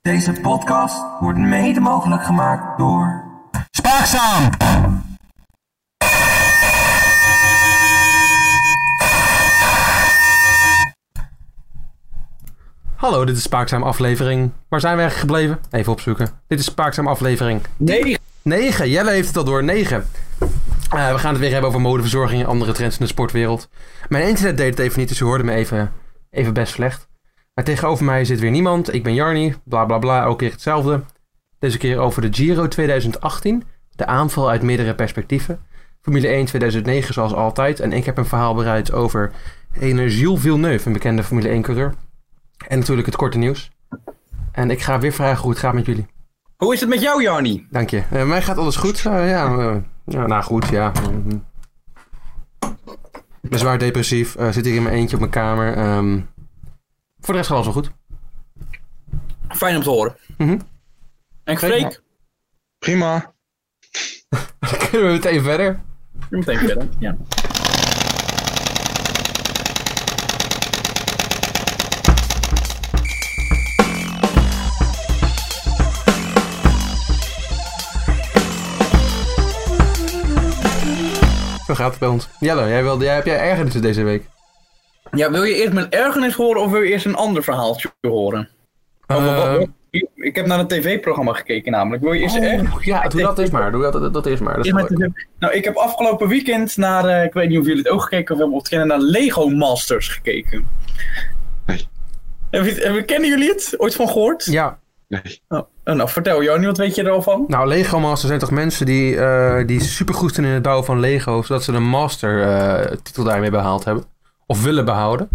Deze podcast wordt mede mogelijk gemaakt door. Spaakzaam! Hallo, dit is Spaakzaam aflevering. Waar zijn we eigenlijk gebleven? Even opzoeken. Dit is Spaakzaam aflevering Nee, die 9. Jelle heeft het al door, 9. Eh, we gaan het weer hebben over modeverzorging en andere trends in de sportwereld. Mijn internet deed het even niet, dus u hoorde me even, even best slecht. Maar tegenover mij zit weer niemand. Ik ben Jarni, bla bla bla, ook weer hetzelfde. Deze keer over de Giro 2018, de aanval uit meerdere perspectieven. Formule 1 2009 zoals altijd. En ik heb een verhaal bereid over ene Gilles Villeneuve, een bekende Formule 1-coureur. En natuurlijk het korte nieuws. En ik ga weer vragen hoe het gaat met jullie. Hoe is het met jou, Jarni? Dank je. Eh, mij gaat alles goed. Eh, ja, eh, ja, nou goed, ja. Mhm. Ik ben zwaar depressief. eh, zit hier in mijn eentje op mijn kamer. ehm. voor de rest gaat alles wel goed. Fijn om te horen. Mhm. En Freek? Prima. Kunnen we meteen verder? Je moet even verder. Ja. Zo gaat het bij ons. Jelle, jij, wilde, jij heb jij ergernissen deze week? ja, wil je eerst mijn ergernis horen of wil je eerst een ander verhaaltje horen? Over wat- Ehm, ik heb naar een tv-programma gekeken namelijk. Wil je eerst erg? oh, ja, doe dat eens maar. Doe dat, dat, dat eerst maar. Dat is Eerst wel met leuk. de- Nou, ik heb afgelopen weekend naar, eh, ik weet niet of jullie het ook gekeken of hebben ontkennen, naar Lego Masters gekeken. Nee. Hebben jullie- hebben- Kennen jullie het? Ooit van gehoord? Ja, Nee. Oh, oh, nou, vertel Jarni, wat weet je er al van? nou Lego Masters zijn toch mensen die, eh, die supergoed zijn in het bouwen van Lego, zodat ze de Master eh, titel daarmee behaald hebben. Of willen behouden.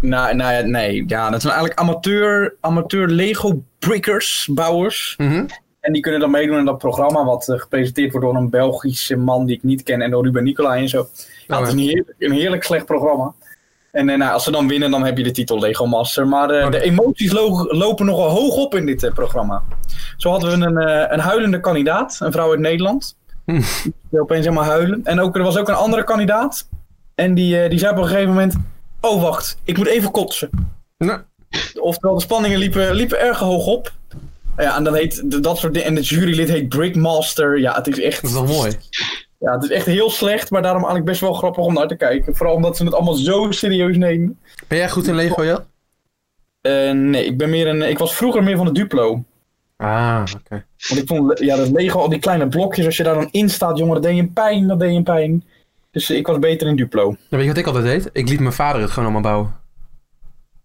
Nou, nou ja, nee. Ja, dat zijn eigenlijk amateur, amateur Lego brickers, bouwers. Mhm. En die kunnen dan meedoen in dat programma wat eh, gepresenteerd wordt door een Belgische man die ik niet ken en door Ruben Nicolai en zo. Nou, ja. het is een heerlijk, een heerlijk slecht programma. En eh, nou, als ze dan winnen, dan heb je de titel Lego Master. Maar eh, Oh, de dat- emoties lo- lopen nogal hoog op in dit eh, programma. Zo hadden we een, eh, een huilende kandidaat, een vrouw uit Nederland. Hm. Die opeens helemaal huilen. En ook, er was ook een andere kandidaat. En die, eh, die zei op een gegeven moment... Oh, wacht, ik moet even kotsen. Nou, Oftewel, de spanningen liepen, liepen erg hoog op. Ja, en dan heet de- dat soort dingen. En het jurylid heet Brickmaster. Ja, het is echt. dat is wel mooi. Ja, het is echt heel slecht, maar daarom eigenlijk best wel grappig om naar te kijken. Vooral omdat ze het allemaal zo serieus nemen. Ben jij goed in Lego, Jelle? Eh, nee, ik ben meer een. Ik was vroeger meer van de Duplo. Ah, oké. Want ik vond ja, dat Lego, al die kleine blokjes, als je daar dan in staat, jongen, dat deed je een pijn, dat deed je een pijn. Dus eh, ik was beter in Duplo. Ja, weet je wat ik altijd deed? Ik liet mijn vader het gewoon allemaal bouwen.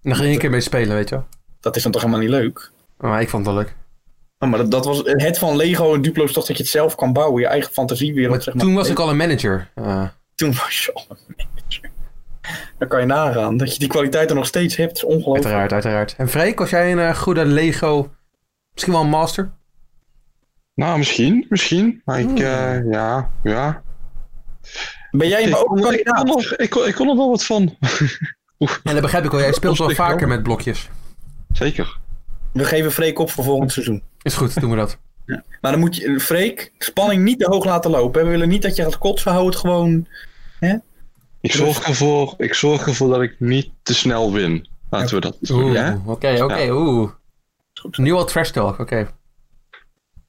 En dan ging ik een keer mee spelen, weet je wel. Dat is dan toch helemaal niet leuk? Maar ik vond het wel leuk. Ja, maar dat, dat was het van Lego en Duplo is toch dat je het zelf kan bouwen, je eigen fantasiewereld. Maar zeg maar. toen was ik al een manager. Eh, Toen was je al een manager. Dan kan je nagaan dat je die kwaliteit er nog steeds hebt. is ongelooflijk. uiteraard, uiteraard. En Freek, was jij een eh, goede Lego... Misschien wel een master? Nou, misschien, misschien. Maar ik, Hmm. eh, ja, ja. Ben jij Ik maar ook kon, ik, kon kandidaat? nog, ik, kon, ik kon er wel wat van. En dat begrijp ik wel. Jij speelt wel Op zich wel. vaker met blokjes. Zeker. We geven Freek op voor volgend seizoen. Is goed, doen we dat. Maar dan moet je, Freek, spanning niet te hoog laten lopen. hè. We willen niet dat je gaat kotsen, houdt gewoon. Ik zorg, ervoor, ik zorg ervoor dat ik niet te snel win. Laten we dat doen. Oeh, Ja? oké, oké, oeh. goed. Nu al trash talk, oké.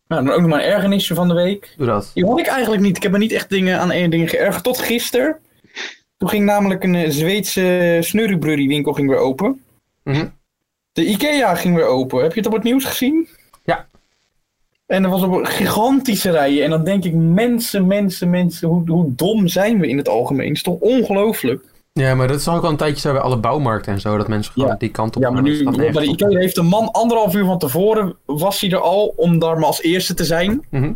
Nou, dan ook nog maar een ergernisje van de week. Doe dat. Die had ik eigenlijk niet. Ik heb me niet echt dingen aan één ding geërgerd. Tot gisteren. Toen ging namelijk een eh, Zweedse snurriebrurrie winkel ging weer open. Mhm. De IKEA ging weer open. Heb je het op het nieuws gezien? Ja. En er was op een gigantische rijen. En dan denk ik, mensen, mensen, mensen, hoe, hoe dom zijn we in het algemeen? Het is toch ongelooflijk? Ja, maar dat is ook al een tijdje zo bij alle bouwmarkten en zo. Dat mensen gewoon Ja. die kant op Ja, maar gaan. nu, Dat staat bij de nergens op. IKEA heeft een man anderhalf uur van tevoren, was hij er al om daar maar als eerste te zijn. Mhm.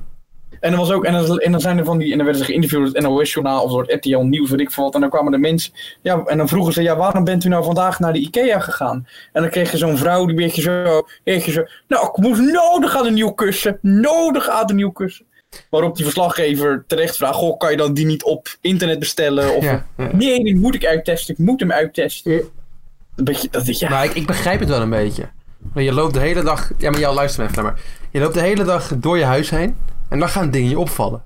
En er was ook, en dan, en dan zijn er van die, en dan werden ze geïnterviewd door het NOS-journaal of door het RTL Nieuws, weet ik veel wat. En dan kwamen de mensen, ja, en dan vroegen ze, ja, waarom bent u nou vandaag naar de IKEA gegaan? En dan kreeg je zo'n vrouw die een beetje zo, beetje zo, nou, ik moest nodig aan een nieuw kussen, nodig aan een nieuw kussen. Waarop die verslaggever terecht vraagt, goh, kan je dan die niet op internet bestellen? Of, Ja, ja. nee, die moet ik uittesten, ik moet hem uittesten. Ja. Een beetje, dat ik, ja, Nou, ik, ik begrijp het wel een beetje. Want je loopt de hele dag. Ja, maar jou luister even naar me. Je loopt de hele dag door je huis heen. En dan gaan dingen je opvallen.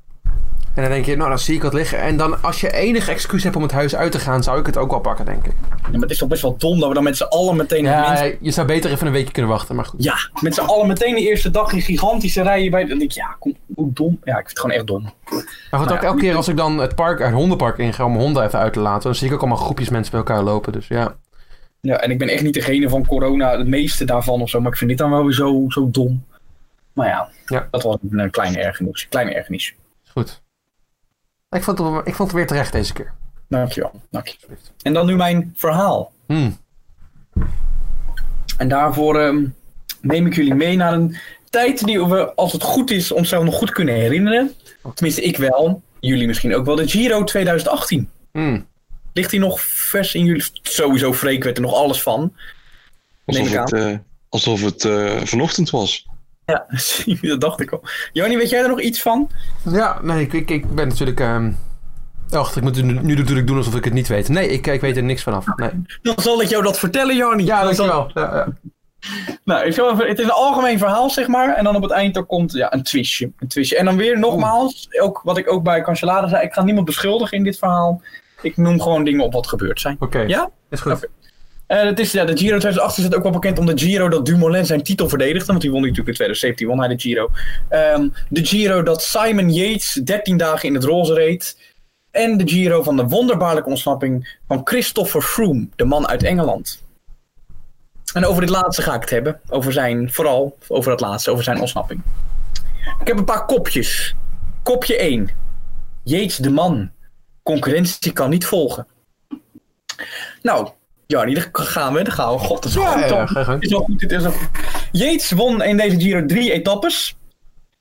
En dan denk je, nou, dan zie ik wat liggen. En dan, als je enig excuus hebt om het huis uit te gaan, zou ik het ook wel pakken, denk ik. Ja, maar het is toch best wel dom dat we dan met z'n allen meteen... Ja, mensen- je zou beter even een weekje kunnen wachten, maar goed. ja, met z'n allen meteen de eerste dag in gigantische rijen bij... Dan denk ik, ja, kom, hoe dom. Ja, ik vind het gewoon echt dom. Maar goed, Nou ook ja. elke keer als ik dan het park, het hondenpark inga om mijn honden even uit te laten, dan zie ik ook allemaal groepjes mensen bij elkaar lopen. Dus ja. Ja, en ik ben echt niet degene van corona, het meeste daarvan of zo. Maar ik vind dit dan wel weer zo, zo dom. Maar ja, Ja. dat was een kleine ergernis. Kleine ergernis. is Goed. Ik vond, het, ik vond het weer terecht deze keer. Dankjewel. dankjewel. Alsjeblieft. En dan nu mijn verhaal. Hmm. En daarvoor ehm, neem ik jullie mee naar een tijd die we, als het goed is, onszelf nog goed kunnen herinneren. Tenminste, ik wel. Jullie misschien ook wel. De Giro 2018. Hmm. Ligt die nog vers in jullie? Sowieso, Freek weet er nog alles van. Alsof Neem ik het, eh, alsof het eh, vanochtend was. Ja, eh, dat dacht ik al. Joni, weet jij er nog iets van? Ja, nee, ik, ik, ik ben natuurlijk. ehm Och, ik moet nu, nu natuurlijk doen alsof ik het niet weet. Nee, ik, ik weet er niks vanaf. Nee. Dan zal ik jou dat vertellen, Joni. Ja, Dan zal- dankjewel. Ja, ja. Nou, ik zal even- het is een algemeen verhaal, zeg maar. En dan op het eind er komt ja, een twistje. Een twistje. En dan weer nogmaals, ook, wat ik ook bij Cancellara zei. Ik ga niemand beschuldigen in dit verhaal. Ik noem gewoon dingen op wat gebeurd zijn. Oké, Ja? is goed. Oké. Eh, het is, ja, de Giro 2018 is ook wel bekend omdat Giro dat Dumoulin zijn titel verdedigde. Want die won natuurlijk in 2017, won hij de Giro. Ehm, de Giro dat Simon Yates 13 dagen in het roze reed. En de Giro van de wonderbaarlijke ontsnapping van Christopher Froome, de man uit Engeland. En over dit laatste ga ik het hebben. Over zijn, vooral over dat laatste, over zijn ontsnapping. Ik heb een paar kopjes. Kopje 1. Yates de man. Concurrentie kan niet volgen. Nou, Jarny, daar gaan we. Daar gaan we. God, dat is Ja, goed. ja, dan. ga je gang. Dit is wel goed. Dit is wel goed. Yates won in deze Giro drie etappes.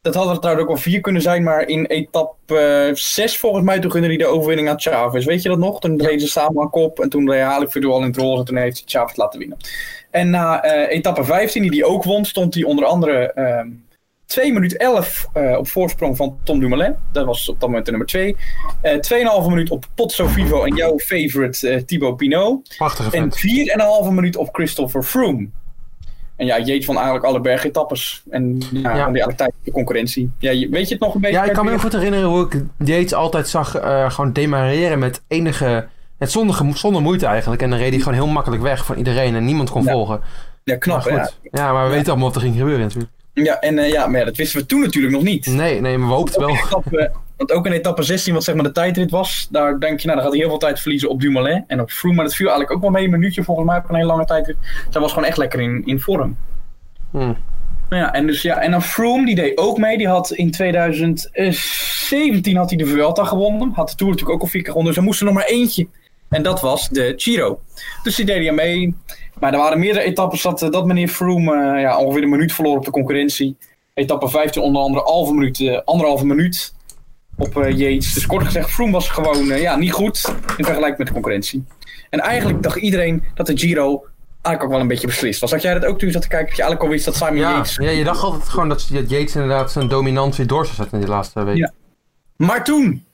Dat hadden er trouwens ook wel vier kunnen zijn, maar in etappe 6 volgens mij toen gunde hij de overwinning aan Chavez. Weet je dat nog? Toen reden ze samen aan kop en toen reed Halifudu al in het roze en toen heeft hij Chavez laten winnen. En na eh, etappe 15, die die ook won, stond hij onder andere ehm 2 minuut 11 eh, op voorsprong van Tom Dumoulin. Dat was op dat moment de nummer 2. Eh 2,5 minuut op Pozzo Vivo en jouw favorite eh Thibaut Pinot. Prachtige En vent. 4,5 minuut op Christopher Froome. En ja, Jeet van eigenlijk alle bergetappes. En ja, Ja. ja. de tijd de concurrentie. Ja, je- weet je het nog een beetje? Ja, ik kan me heel goed herinneren hoe ik Yates altijd zag eh, gewoon demareren met enige... Met zonder, gemo- zonder moeite eigenlijk. En dan reed hij gewoon heel makkelijk weg van iedereen en niemand kon Ja. volgen. Ja, knap Maar hè? goed. Ja, maar we weten allemaal wat er ging gebeuren natuurlijk. Ja, en, eh, ja, maar ja, dat wisten we toen natuurlijk nog niet. Nee, nee, maar we hoopten Ook wel. in etappe- want ook in etappe 16, wat zeg maar de tijdrit was, daar denk je, nou, dan gaat hij heel veel tijd verliezen op Dumoulin en op Froome. Maar dat viel eigenlijk ook wel mee, een minuutje volgens mij op een hele lange tijdrit. Zij was gewoon echt lekker in, in vorm. Hmm. Nou Ja, en, dus, ja, en dan Froome, die deed ook mee. Die had in 2017 had hij de Vuelta gewonnen. Had de Tour natuurlijk ook al vier keer gewonnen. Dus er moest er nog maar eentje. En dat was de Giro. Dus die deed hij mee. Maar er waren meerdere etappes dat, eh, dat meneer Froome eh, ja, ongeveer een minuut verloor op de concurrentie. Etappe 15 onder andere halve minuut, eh, anderhalve minuut op eh Yates. Dus kort gezegd, Froome was gewoon eh, ja, niet goed in vergelijking met de concurrentie. En eigenlijk dacht iedereen dat de Giro eigenlijk ook wel een beetje beslist was. Had jij dat ook toen je zat te kijken? Dat je eigenlijk al wist dat Simon Ja, Yates... ja, je dacht altijd gewoon dat dat Yates inderdaad zijn dominantie door zou zetten in die laatste week. Ja. Maar toen,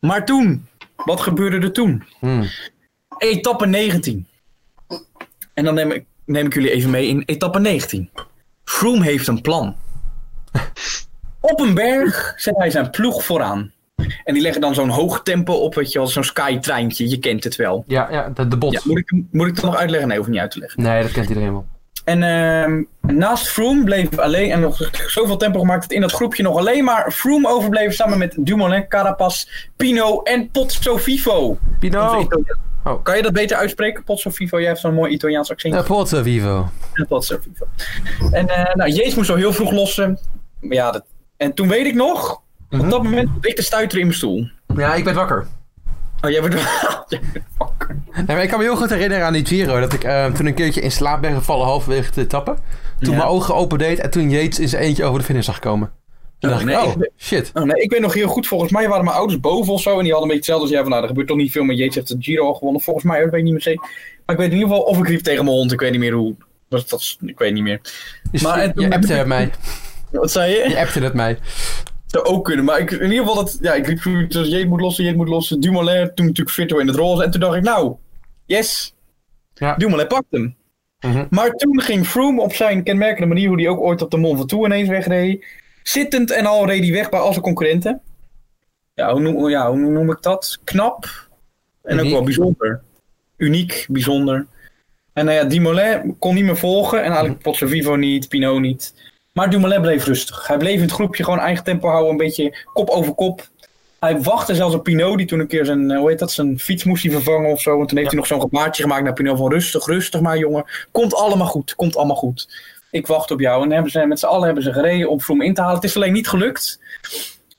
maar toen, wat gebeurde er toen? Hmm. Etappe 19. En dan neem ik, neem ik jullie even mee in etappe 19. Froome heeft een plan. Op een berg zet hij zijn ploeg vooraan. En die leggen dan zo'n hoog tempo op, weet je wel, zo'n skytreintje. Je kent het wel. Ja, ja, de, de bot. Ja, moet, ik, moet ik dat nog uitleggen? Nee, hoef ik niet uit te leggen. Nee, dat kent iedereen wel. En ehm, naast Froome bleef alleen, en nog zoveel tempo gemaakt dat in dat groepje nog alleen maar Froome overbleef samen met Dumoulin, Carapaz, Pino en Pozzo Vivo. Onze Pino! Italiaan. Oh. Kan je dat beter uitspreken, Pozzo Vivo? Jij hebt zo'n mooi Italiaans accent. Ja, Porto eh, Vivo. En Pozzo Vivo. En eh, nou, Jeets moest al heel vroeg lossen. Maar Ja, dat... En toen weet ik nog, Mhm. op dat moment zat ik te stuiteren in mijn stoel. Ja, ik werd wakker. Oh, jij bent... jij bent fucker. Nee, maar ik kan me heel goed herinneren aan die Giro. Dat ik eh, toen een keertje in slaap ben gevallen halverwege de etappe. Toen Ja. mijn ogen open deed en toen Yates in zijn eentje over de finish zag komen. Toen Oh, dacht nee, ik, ik oh, ben- shit. Oh, nee, ik weet nog heel goed, volgens mij waren mijn ouders boven of zo. En die hadden een beetje hetzelfde als jij van, nou, er gebeurt toch niet veel. Maar Jeets heeft de Giro al gewonnen, volgens mij, hoor, dat weet ik niet meer zeker. Maar ik weet in ieder geval of ik riep tegen mijn hond, ik weet niet meer hoe. Dat, dat, is- ik weet niet meer. Je, Maar en toen je heb appte ik- het mij. Wat zei je? Je appte het mij. zou ook kunnen. Maar ik, in ieder geval, dat, ja, ik riep toen, dat Jeet moet lossen, Jeet moet lossen. Dumoulin, toen natuurlijk Vito in het roze. En toen dacht ik, nou, yes. Ja. Dumoulin pakt hem. Mhm. Maar toen ging Froome op zijn kenmerkende manier, hoe hij ook ooit op de Mont Ventoux ineens wegreed. Zittend en al reed hij weg bij al zijn concurrenten. ja, hoe, noem, ja, hoe noem ik dat? Knap en ook Uniek. wel bijzonder. Uniek, bijzonder. En nou ja, Dumoulin kon niet meer volgen en Mhm. eigenlijk Pozzovivo niet, Pinot niet. Maar Dumoulin bleef rustig. Hij bleef in het groepje gewoon eigen tempo houden, een beetje kop over kop. Hij wachtte zelfs op Pinot, die toen een keer zijn, eh, hoe heet dat, zijn fiets moest hij vervangen of zo. En toen heeft hij nog zo'n gebaartje gemaakt naar Pinot van rustig, rustig maar jongen. Komt allemaal goed, komt allemaal goed. Ik wacht op jou. En hebben ze, met z'n allen hebben ze gereden om Vroom in te halen. Het is alleen niet gelukt.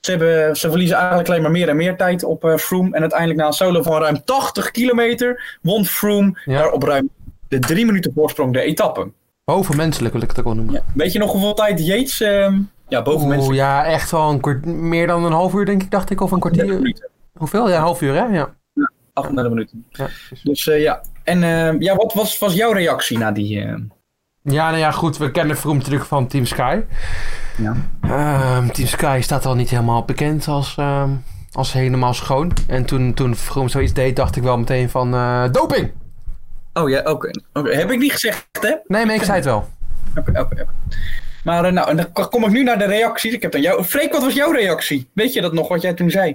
Ze, hebben, ze verliezen eigenlijk alleen maar meer en meer tijd op eh Froome. En uiteindelijk na een solo van ruim 80 kilometer won Froome Ja. daar op ruim de drie minuten voorsprong de etappe. Bovenmenselijk wil ik het ook wel noemen. Weet je nog hoeveel tijd Yates... ehm, ja, boven Oeh, mensen. ja, echt wel een kwart, meer dan een half uur, denk ik, dacht ik. Of een 30 kwartier. minuten. Hoeveel? Ja, een half uur, hè? Ja. 38 minuten. Ja, Dus eh, ja. En eh, ja, wat was, was jouw reactie na die... eh, ja, nou ja, goed. We kennen Vroom natuurlijk van Team Sky. Ja. Ehm, Team Sky staat al niet helemaal bekend als, ehm, als helemaal schoon. En toen, toen Vroom zoiets deed, dacht ik wel meteen van... eh, doping! Oh ja, oké. Oké, Heb ik niet gezegd, hè? Nee, maar ik zei het wel. Oké, oké, oké. Maar eh, nou, en dan kom ik nu naar de reacties. Ik heb dan jou... Freek, wat was jouw reactie? Weet je dat nog, wat jij toen zei?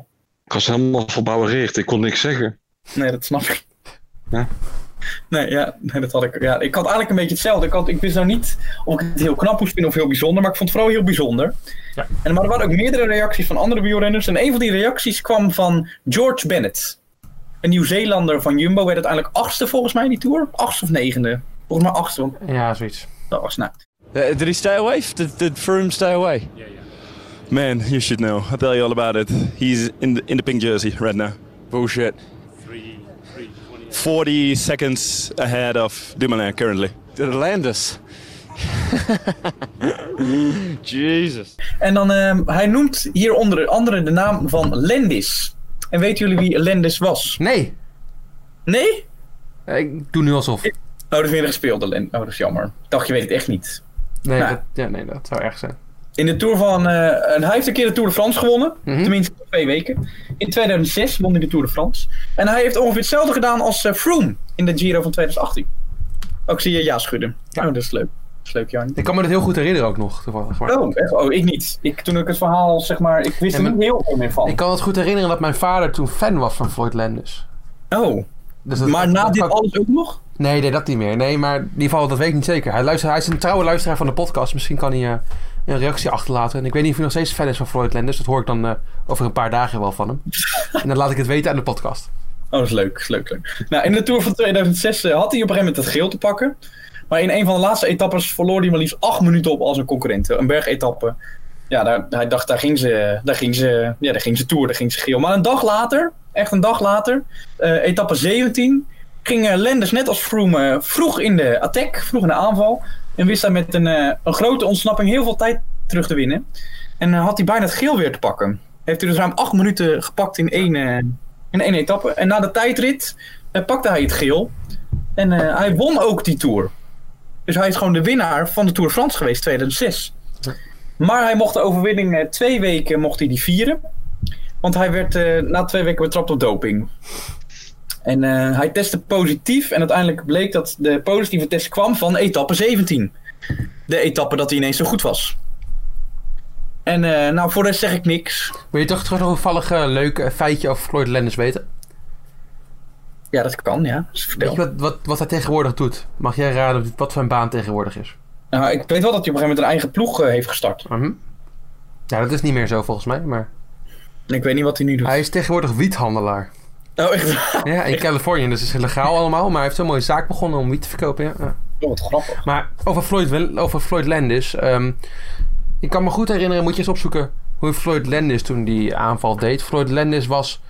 Ik was helemaal verbouwereerd. Ik kon niks zeggen. Nee, dat snap ik. Ja. Nee, ja, nee, dat had ik. Ja, ik had eigenlijk een beetje hetzelfde. Ik, had, ik wist nou niet of ik het heel knap moest vinden of heel bijzonder, maar ik vond het vooral heel bijzonder. Ja. En, maar er waren ook meerdere reacties van andere wielrenners. En een van die reacties kwam van George Bennett. Een Nieuw-Zeelander van Jumbo werd uiteindelijk achtste volgens mij in die Tour. Achtste of negende? Volgens mij achtste, want Ja, zoiets. dat was nou... Uh, did he stay away? Did, did Froome stay away? Man, you should know. I'll tell you all about it. He's in the, in the pink jersey right now. Bullshit. 40 seconds ahead of Dumoulin currently. Did it land us? Jesus. En dan, ehm, hij noemt hier onder andere de naam van Lendis. En weten jullie wie Lendis was? Nee! Nee? Eh, Ik doe nu alsof. Oh, dat is weer een gespeelde Lendis. Oh, dat is jammer. Ik dacht, je weet het echt niet. Nee, Nou. dat, ja, nee dat zou erg zijn. In de Tour van... eh, en hij heeft een keer de Tour de France gewonnen. Mhm. Tenminste, twee weken. In 2006 won hij de Tour de France. En hij heeft ongeveer hetzelfde gedaan als eh, Froome in de Giro van 2018. Ook zie je ja schudden. Ja. Oh, dat is leuk. Dat is leuk, Jan. Ik kan me dat heel goed herinneren ook nog, toevallig. Maar... Oh, echt? Oh, ik niet. Ik, toen ik het verhaal, zeg maar... Ik wist Ja, maar- er niet heel veel meer van. Ik kan het goed herinneren dat mijn vader toen fan was van Floyd Landis. Oh, Dus dat- maar na dat- dit dat- alles ook nog? Nee, nee, dat niet meer. Nee, maar in ieder geval, dat weet ik niet zeker. Hij, luistert, hij is een trouwe luisteraar van de podcast. Misschien kan hij eh, een reactie achterlaten. En ik weet niet of hij nog steeds fan is van Floyd Landers. Dat hoor ik dan eh, over een paar dagen wel van hem. en dan laat ik het weten aan de podcast. Oh, dat is leuk, dat is leuk, leuk. Nou, in de Tour van 2006 eh, had hij op een gegeven moment het geel te pakken. Maar in een van de laatste etappes verloor hij maar liefst acht minuten op als een concurrent. Een bergetappe. Ja, daar, hij dacht, daar ging, ze, daar, ging ze, ja, daar ging ze Tour, daar ging ze geel. Maar een dag later, echt een dag later, eh, etappe 17, ging eh, Lenders net als Froome eh, vroeg in de attack, vroeg in de aanval. En wist hij met een, eh, een grote ontsnapping heel veel tijd terug te winnen. En eh, had hij bijna het geel weer te pakken. Heeft hij dus ruim acht minuten gepakt in één... eh, in één etappe. En na de tijdrit eh, pakte hij het geel. En eh, hij won ook die Tour. Dus hij is gewoon de winnaar van de Tour de France geweest 2006. Maar hij mocht de overwinning eh, twee weken mocht hij die vieren. Want hij werd eh, na twee weken betrapt op doping. En eh, hij testte positief. En uiteindelijk bleek dat de positieve test kwam van etappe 17. De etappe dat hij ineens zo goed was. En eh, nou, voor de rest zeg ik niks. Wil je toch terug nog een toevallig eh, leuk eh, feitje over Floyd Landers weten? Ja, dat kan, ja. Dus vertel. Weet je wat, wat, wat hij tegenwoordig doet? Mag jij raden wat zijn baan tegenwoordig is? Nou, ik weet wel dat hij op een gegeven moment een eigen ploeg eh, heeft gestart. Mhm. Ja, dat is niet meer zo volgens mij, maar... En ik weet niet wat hij nu doet. Hij is tegenwoordig wiethandelaar. Oh, echt? Ja, in Californië, dus is illegaal allemaal. Maar hij heeft zo'n mooie zaak begonnen om wiet te verkopen, ja. ja. Oh, wat grappig. Maar over Floyd, over Floyd Landis. ehm, ik kan me goed herinneren, moet je eens opzoeken hoe Floyd Landis toen die aanval deed. Floyd Landis was,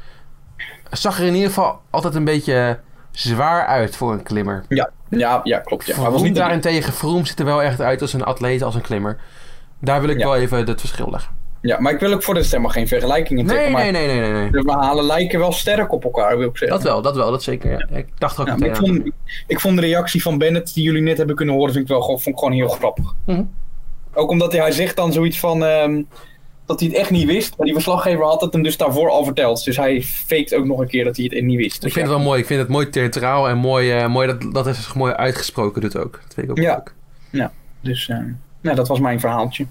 zag er in ieder geval altijd een beetje zwaar uit voor een klimmer. Ja, ja, ja klopt. Ja. Hij was niet daarentegen, Vroom ziet er wel echt uit als een atleet, als een klimmer. Daar wil ik Ja. wel even het verschil leggen. ja, maar ik wil ook voor de rest helemaal geen vergelijkingen Nee, trekken. nee, maar nee, nee, nee, nee. de verhalen lijken wel sterk op elkaar, wil ik zeggen. Dat wel, dat wel, dat zeker. ja. Ik dacht er ook Ja, maar meteen ik, aan. vond, ik vond de reactie van Bennett, die jullie net hebben kunnen horen, vind ik wel gewoon- vond ik gewoon heel grappig. Mhm. Ook omdat hij, hij zegt dan zoiets van ehm, dat hij het echt niet wist. Maar die verslaggever had het hem dus daarvoor al verteld. Dus hij faked ook nog een keer dat hij het niet wist. Dus Ik vind ja. het wel mooi. Ik vind het mooi theatraal en mooi, eh, mooi dat, dat is zich mooi uitgesproken doet ook. Dat vind ik ook Ja. leuk. Dus eh, nou, dat was mijn verhaaltje.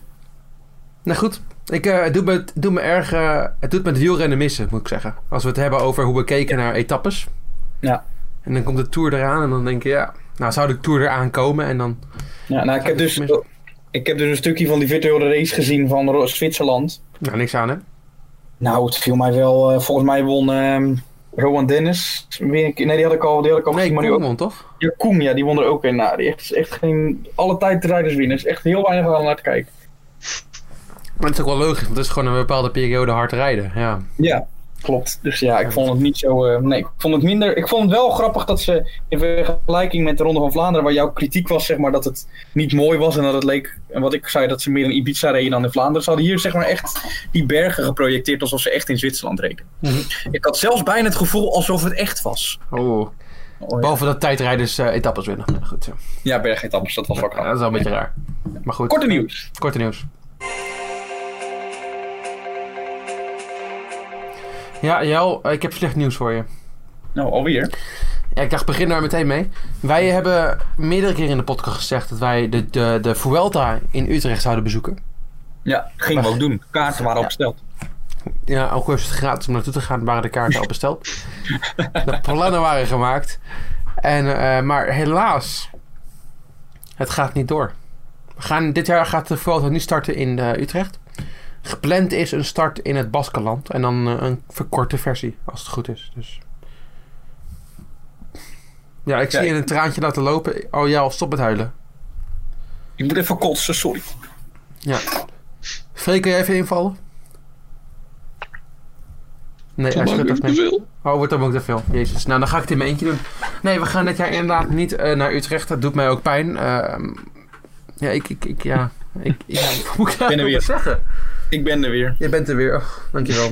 Nou goed, ik, eh, het, doet me, het doet me erg. eh, het doet me het wielrennen missen, moet ik zeggen. Als we het hebben over hoe we keken naar etappes. Ja. En dan komt de Tour eraan en dan denk je, ja, nou zou de Tour eraan komen en dan... Ja, nou, ik, heb dus, Mis- ik heb dus een stukje van die virtuele race gezien van Ro- Zwitserland. Nou, niks aan hè. Nou, het viel mij wel. eh, volgens mij won ehm Rowan Dennis. Weer een keer- Nee, die had ik al, die had ik al Nee, gezien, maar nu ook. Koeman toch? Ja, Koen, ja, die won er ook weer naar. Die heeft dus echt geen. Alle tijdrijders winnen. Is echt heel weinig aan naar te kijken. Maar het is ook wel logisch, want het is gewoon een bepaalde periode hard rijden. Ja, Ja, klopt. Dus ja, ik vond het niet zo. eh, nee, ik vond het minder. Ik vond het wel grappig dat ze in vergelijking met de Ronde van Vlaanderen, waar jouw kritiek was, zeg maar, dat het niet mooi was en dat het leek. En wat ik zei, dat ze meer in Ibiza reden dan in Vlaanderen. Ze hadden hier, zeg maar, echt die bergen geprojecteerd alsof ze echt in Zwitserland reden. Ik had zelfs bijna het gevoel alsof het echt was. oh. Oh, ja. Behalve dat tijdrijders eh, etappes winnen. Nou, goed, ja. ja, bergetappes, dat was wel Ja, knap. dat is wel een beetje raar. Maar goed. Korte nieuws. Korte nieuws. Ja, Jel, eh, ik heb slecht nieuws voor je. Nou, alweer. Ja, ik dacht, begin daar meteen mee. Wij hebben meerdere keren in de podcast gezegd dat wij de, de, de Vuelta in Utrecht zouden bezoeken. Ja, gingen we ook doen. Kaarten waren al besteld. Ja, ook al is het gratis om naartoe te gaan, waren de kaarten al besteld. de plannen waren gemaakt. En, eh, maar helaas, het gaat niet door. We gaan, dit jaar gaat de Vuelta nu starten in eh, Utrecht. Gepland is een start in het Baskenland. En dan eh, een verkorte versie, als het goed is. Dus. Ja, ik Ja, zie ik- je een traantje laten lopen. Oh ja, stop met huilen. Ik moet even kotsen, sorry. Ja. Freek, kun jij even invallen? Nee, hij schudt Zolang echt ik te mee. veel. Oh, wordt dan ook te veel. Jezus. Nou, dan ga ik het in mijn eentje doen. Nee, we gaan dit jaar inderdaad niet eh, naar Utrecht. Dat doet mij ook pijn. Ehm, ja, ik, ik, ik, ja. Ik, ja, wat moet ik ben er daarover weer. zeggen? Ik ben er weer. Je bent er weer. Oh, dankjewel.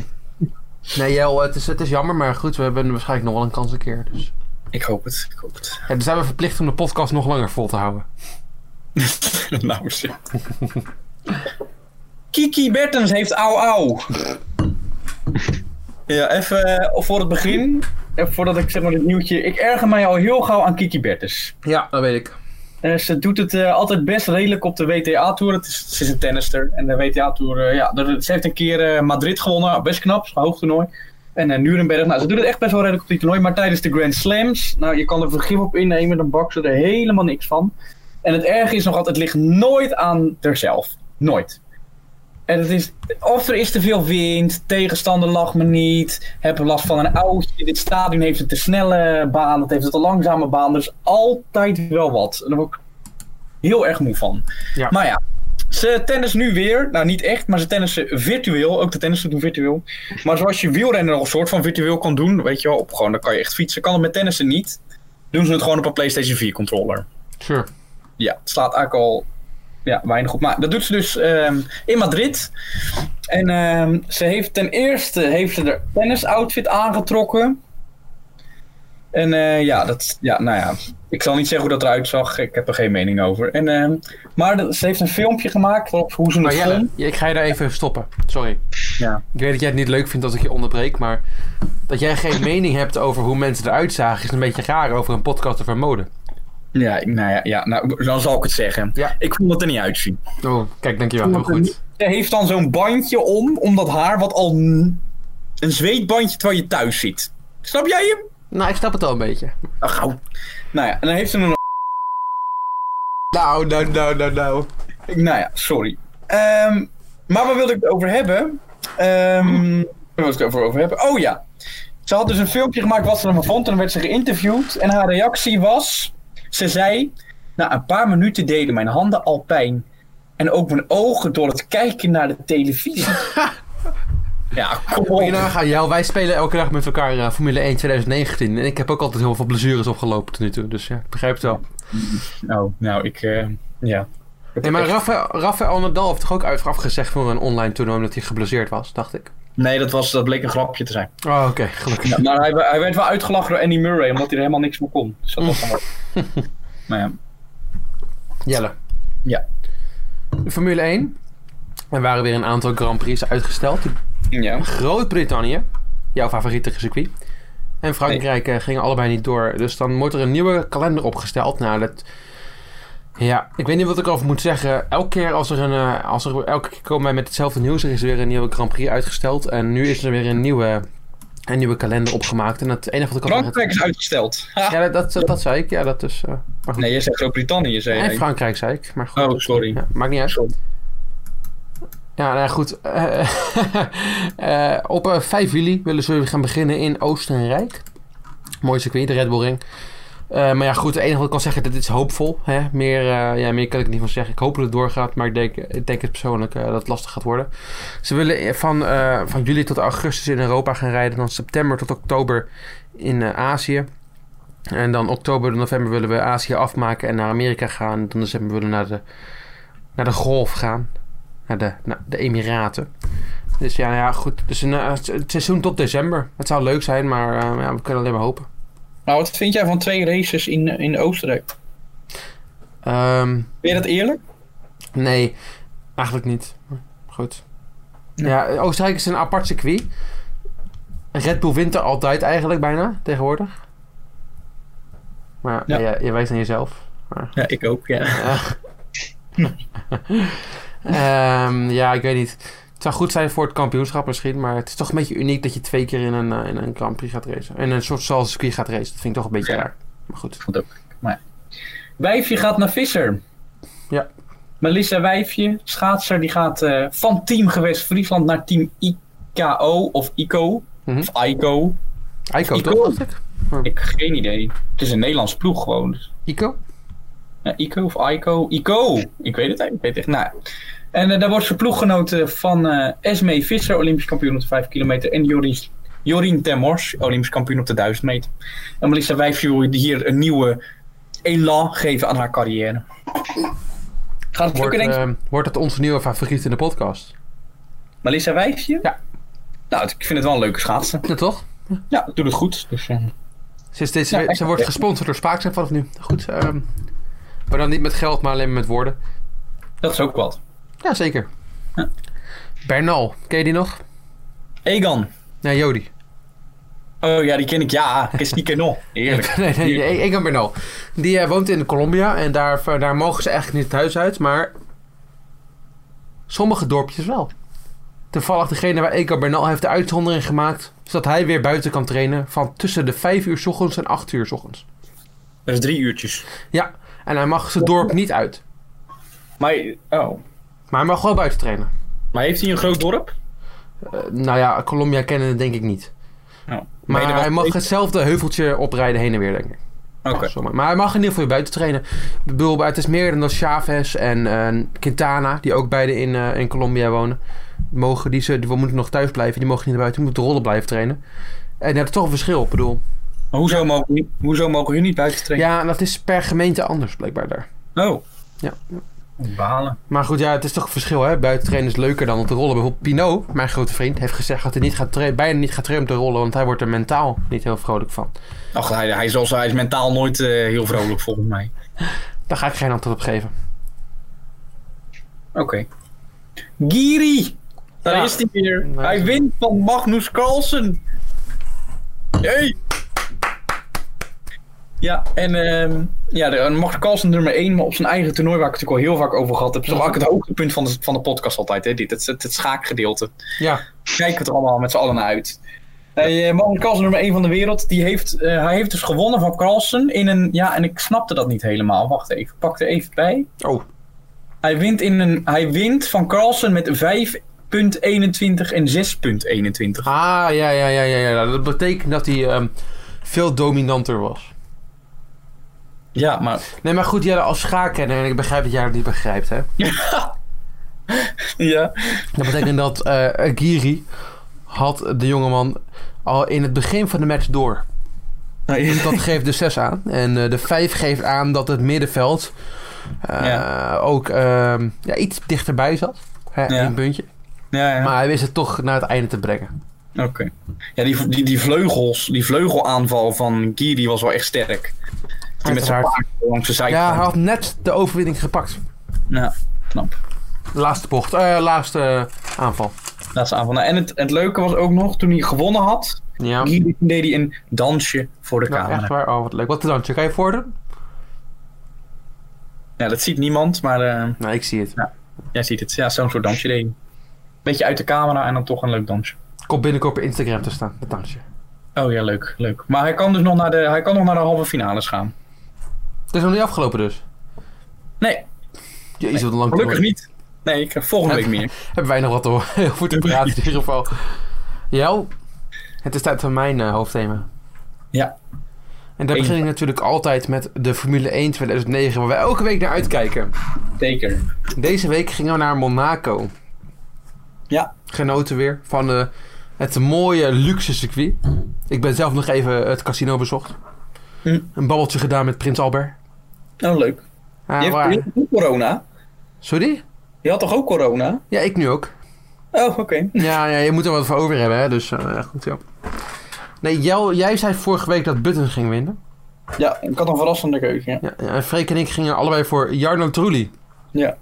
Nee, Jel, het is, het is jammer, maar goed, we hebben waarschijnlijk nog wel een kans een keer. Dus. Ik hoop het, ik hoop het. Ja, dan zijn we verplicht om de podcast nog langer vol te houden. nou zeg. Kiki Bertens heeft au au. Ja, even eh, voor het begin. Even voordat ik zeg maar dit nieuwtje. Ik erger mij al heel gauw aan Kiki Bertens. Ja, dat weet ik. Eh, ze doet het eh, altijd best redelijk op de WTA-tour. Het is, ze is een tennister. En de WTA-tour, eh, ja, er- ze heeft een keer eh, Madrid gewonnen. Best knap, is een hoog toernooi. En eh Nuremberg, nou, ze doet het echt best wel redelijk op die toernooi. Maar tijdens de Grand Slams, nou, je kan er vergif op innemen. Dan bakt ze er helemaal niks van. En het erge is nog altijd, het ligt nooit aan haarzelf. Nooit. En het is, of er is te veel wind, tegenstander lag me niet, heb last van een oudje, dit stadion heeft een te snelle baan, het heeft een te langzame baan, er is altijd wel wat. En daar word ik heel erg moe van. Ja. Maar ja, ze tennis nu weer, nou niet echt, maar ze tennissen virtueel, ook de tennissen doen virtueel. Maar zoals je wielrennen nog een soort van virtueel kan doen, weet je wel, op gewoon, dan kan je echt fietsen, kan het met tennissen niet. Doen ze het gewoon op een PlayStation 4 controller Sure. ja, het slaat eigenlijk al ja, weinig op. Maar dat doet ze dus ehm, in Madrid. En ehm, ze heeft ten eerste heeft ze haar tennisoutfit aangetrokken. En eh, ja, dat, ja, nou ja, ik zal niet zeggen hoe dat eruit zag. Ik heb er geen mening over. En, ehm, maar dat- ze heeft een filmpje gemaakt op hoe ze Maar het Jelle, vond. ik ga je daar even stoppen. Sorry. Ja. Ik weet dat jij het niet leuk vindt als ik je onderbreek, maar dat jij geen mening hebt over hoe mensen eruit zagen is een beetje raar over een podcast over mode. Ja, ik- nou ja, ja nou, dan zal ik het zeggen. Ja. Ik vond het er niet uitzien. Oh, kijk, dankjewel. Heel goed. Ze heeft dan zo'n bandje om, om dat haar, wat al n- een zweetbandje terwijl je thuis zit. Snap jij hem? Nou, ik snap het al een beetje. Ach, gauw. Nou ja, en dan heeft ze een... Nou, nou, nou, nou, nou. Nou ja, sorry. Ehm, maar waar wilde ik het over hebben? Ehm, waar wilde ik het over, over hebben? Oh ja. Ze had dus een filmpje gemaakt wat ze ervan vond. En dan werd ze geïnterviewd. En haar reactie was... Ze zei... Na een paar minuten deden mijn handen al pijn. En ook mijn ogen door het kijken naar de televisie. ja, kom op. Hierna gaan jou. Wij spelen elke dag met elkaar eh, Formule 1 2019. En ik heb ook altijd heel veel blessures opgelopen tot nu toe. Dus ja, ik begrijp het wel. Nou, nou, ik... eh, ja. Nee, maar Rafael, Rafael Nadal heeft toch ook uit- afgezegd voor een online toernooi omdat hij geblesseerd was, dacht ik. Nee, dat, was, dat bleek een grapje te zijn. Oh, oké, gelukkig. Maar hij, we- hij werd wel uitgelachen door Andy Murray, omdat hij er helemaal niks meer kon. Dus dat was dan wel- Maar ja. Jelle. Ja. De Formule 1. Er waren weer een aantal Grand Prix uitgesteld. ja. Groot-Brittannië, jouw favoriete circuit. En Frankrijk eh, gingen allebei niet door. Dus dan wordt er een nieuwe kalender opgesteld. Nou, dat Ja, ik weet niet wat ik over moet zeggen. Elke keer, als er een, eh, als er, elke keer komen wij met hetzelfde nieuws. Er is weer een nieuwe Grand Prix uitgesteld. En nu is er weer een nieuwe, een nieuwe kalender opgemaakt. En het enige wat ik al Frankrijk is uitgesteld. Ha. Ja, dat, dat, dat zei ik. Ja, dat is... eh, maar goed. Nee, je zegt Groot-Brittannië, zei en jij. Frankrijk zei ik. Maar goed. Oh, sorry. Ja, maakt niet uit. Sorry. Ja, nou ja, goed. Eh, eh, op eh, 5 juli willen ze weer gaan beginnen in Oostenrijk. Mooi circuit, de Red Bull Ring. Eh, maar ja, goed, het enige wat ik kan zeggen, dit is hoopvol. Hè? Meer, eh, ja, meer kan ik er niet van zeggen. Ik hoop dat het doorgaat, maar ik denk, ik denk het persoonlijk eh, dat het lastig gaat worden. Ze willen eh, van, eh, van juli tot augustus in Europa gaan rijden. Dan september tot oktober in eh, Azië. En dan oktober en november willen we Azië afmaken en naar Amerika gaan. Dan december willen we naar de, naar de Golf gaan. Naar de, naar de Emiraten. Dus ja, nou ja goed. Dus een, eh, het seizoen tot december. Het zou leuk zijn, maar eh, ja, we kunnen alleen maar hopen. Nou, wat vind jij van twee races in, in Oostenrijk? Ehm, Vind je dat eerlijk? nee, eigenlijk niet. Goed. Ja, Oostenrijk is een apart circuit. Red Bull wint er altijd eigenlijk bijna, tegenwoordig. Maar ja. Ja. je, je wijst aan jezelf. Maar, Ja, ik ook, ja. ja. Ehm, ja, ik weet niet. Het zou goed zijn voor het kampioenschap misschien, maar het is toch een beetje uniek dat je twee keer in een, eh, in een Grand Prix gaat racen. In een soort zoals circuit gaat racen. Dat vind ik toch een beetje Ja. raar. Maar goed. Wijfje gaat naar Visser. Ja. Melissa Wijfje, schaatser, die gaat eh, van team geweest Friesland naar team IKO of ICO. Mhm. Of ICO. Ico, Ico. toch? Dacht ik. Ik heb geen idee. Het is een Nederlands ploeg gewoon. Dus, Ico? eh, ICO of ICO? ICO! Ik weet het eigenlijk. Ik weet het echt. Nou, en eh, daar wordt ze ploeggenoten van eh Esme Visser, Olympisch kampioen op de 5 kilometer. En Jorien, Jorien Termors, Olympisch kampioen op de 1000 meter. En Melissa Wijfje wil hier een nieuwe elan geven aan haar carrière. Gaat Wordt, het lukken, denk je? ehm, wordt het onze nieuwe favoriet in de podcast? Melissa Wijfje? Ja. Nou, ik vind het wel een leuke schaatsen. Ja, toch? Ja, doet het goed. Dus, eh, Ze, is deze- Ja, echt. ze wordt gesponsord door Spaakzaam vanaf nu. Goed. ehm, maar dan niet met geld, maar alleen maar met woorden. dat is ook wat. Ja, zeker. Bernal, ken je die nog? Egan. Nee, Jody. Oh ja, die ken ik. Ja, ik is die ken nog. Nee, Heerlijk. nee, Heerlijk. nee, Egan Bernal. Die eh, woont in Colombia en daar, eh, daar mogen ze eigenlijk niet het huis uit, maar sommige dorpjes wel. Toevallig degene waar Egan Bernal heeft de uitzondering gemaakt, zodat hij weer buiten kan trainen van tussen de 5 uur 's ochtends en 8 uur 's ochtends. Dat is drie uurtjes. Ja, en hij mag zijn dorp niet uit, Maar, oh. maar hij mag wel buiten trainen. maar heeft hij een groot dorp? Eh, nou ja, Colombia kennen het denk ik niet. Nou, Maar ben je er hij wel- mag hetzelfde heuveltje oprijden heen en weer, denk ik. Oké. Zomaar. Maar hij mag in ieder geval weer buiten trainen. Ik bedoel, het is meer dan dat Chavez en eh, Quintana, die ook beide in, eh, in Colombia wonen, mogen, die, ze, die moeten nog thuis blijven, die mogen niet naar buiten, die moeten rollen blijven trainen. En dat is toch een verschil, ik bedoel. Maar hoezo mogen, hoezo mogen jullie niet buiten trainen? Ja, en dat is per gemeente anders, blijkbaar daar. Oh. Ja. Balen. Maar goed, ja, het is toch een verschil, hè? Buiten trainen is leuker dan om te rollen. Bijvoorbeeld Pinot, mijn grote vriend, heeft gezegd dat hij niet gaat tra- bijna niet gaat trainen om te rollen, want hij wordt er mentaal niet heel vrolijk van. Ach, hij, hij, is als, hij is mentaal nooit eh, heel vrolijk volgens mij. Daar ga ik geen antwoord op geven. Oké. Giri! Daar Ja. is hij weer. Daar is Hij hij. wint van Magnus Carlsen. Jee! Ja, en ehm ja, de, en Magnus Carlsen nummer 1, maar op zijn eigen toernooi, waar ik het natuurlijk al heel vaak over gehad heb. Dat is ook het hoogtepunt van de, van de podcast altijd, hè, dit, het, het, het schaakgedeelte. Ja, Kijken we het er allemaal met z'n allen naar uit. Hey, eh, Magnus Carlsen, nummer 1 van de wereld, die heeft, eh, hij heeft dus gewonnen van Carlsen in een... Ja, en ik snapte dat niet helemaal. Wacht even, ik pak er even bij. Oh, Hij wint, in een, hij wint van Carlsen met 5.21 en 6.21. ah, ja, ja, ja, ja, ja. Dat betekent dat hij ehm, veel dominanter was. Ja, maar... Nee, maar goed, jij als schaakkenner, en ik begrijp dat jij dat niet begrijpt, hè. Ja. Dat betekent dat eh Giri had de jongeman al in het begin van de match door. Dus dat geeft de 6 aan. En eh, de 5 geeft aan dat het middenveld eh, Ja. ook ehm, ja, iets dichterbij zat. Hè, Ja. Een puntje. Ja, ja. Maar hij wist het toch naar het einde te brengen. Oké. Ja, die, die, die vleugels, die vleugelaanval van Giri was wel echt sterk. Die met zijn Uiteraard. paard langs de zijkant. Ja, hij had net de overwinning gepakt. Ja, knap. Laatste bocht, eh, laatste eh, aanval. Laatste aanval. Nou, en het, het leuke was ook nog, toen hij gewonnen had, Ja. Giri deed hij een dansje voor de Nou, camera. echt waar? Oh, wat leuk. Wat een dansje. Kan je voordoen? Ja, dat ziet niemand, maar eh, Nou, ik zie het. jij ziet het. Ja, zo'n soort dansje deed hij. Beetje uit de camera en dan toch een leuk dansje. Komt binnenkort op Instagram te staan, dat dansje. Oh ja, leuk, leuk. Maar hij kan dus nog naar de, hij kan nog naar de halve finales gaan. Het is nog niet afgelopen dus. Nee, Jezus, wat een lang gelukkig toernooi. niet. Nee, ik heb volgende week meer. Hebben wij nog wat te horen- over te praten in ieder geval. Jel, het is tijd voor mijn eh, hoofdthema. Ja. En daar Eén. begin ik natuurlijk altijd met de Formule 1 2009, waar wij elke week naar uitkijken. Zeker. Deze week gingen we naar Monaco. Ja. Genoten weer van eh, het mooie luxe circuit. Ik ben zelf nog even het casino bezocht. Hm. Een babbeltje gedaan met Prins Albert. Nou, leuk. Ah, Je hebt waar? toch ook corona? Sorry? Je had toch ook corona? Ja, ik nu ook. Oh, oké. Ja, ja, je moet er wat voor over hebben, hè? Dus eh, goed, ja. Nee, Jel, jij zei vorige week dat Button ging winnen. Ja, ik had een verrassende keuze. Ja. Ja, en Freek en ik gingen allebei voor Jarno Trulli. Ja.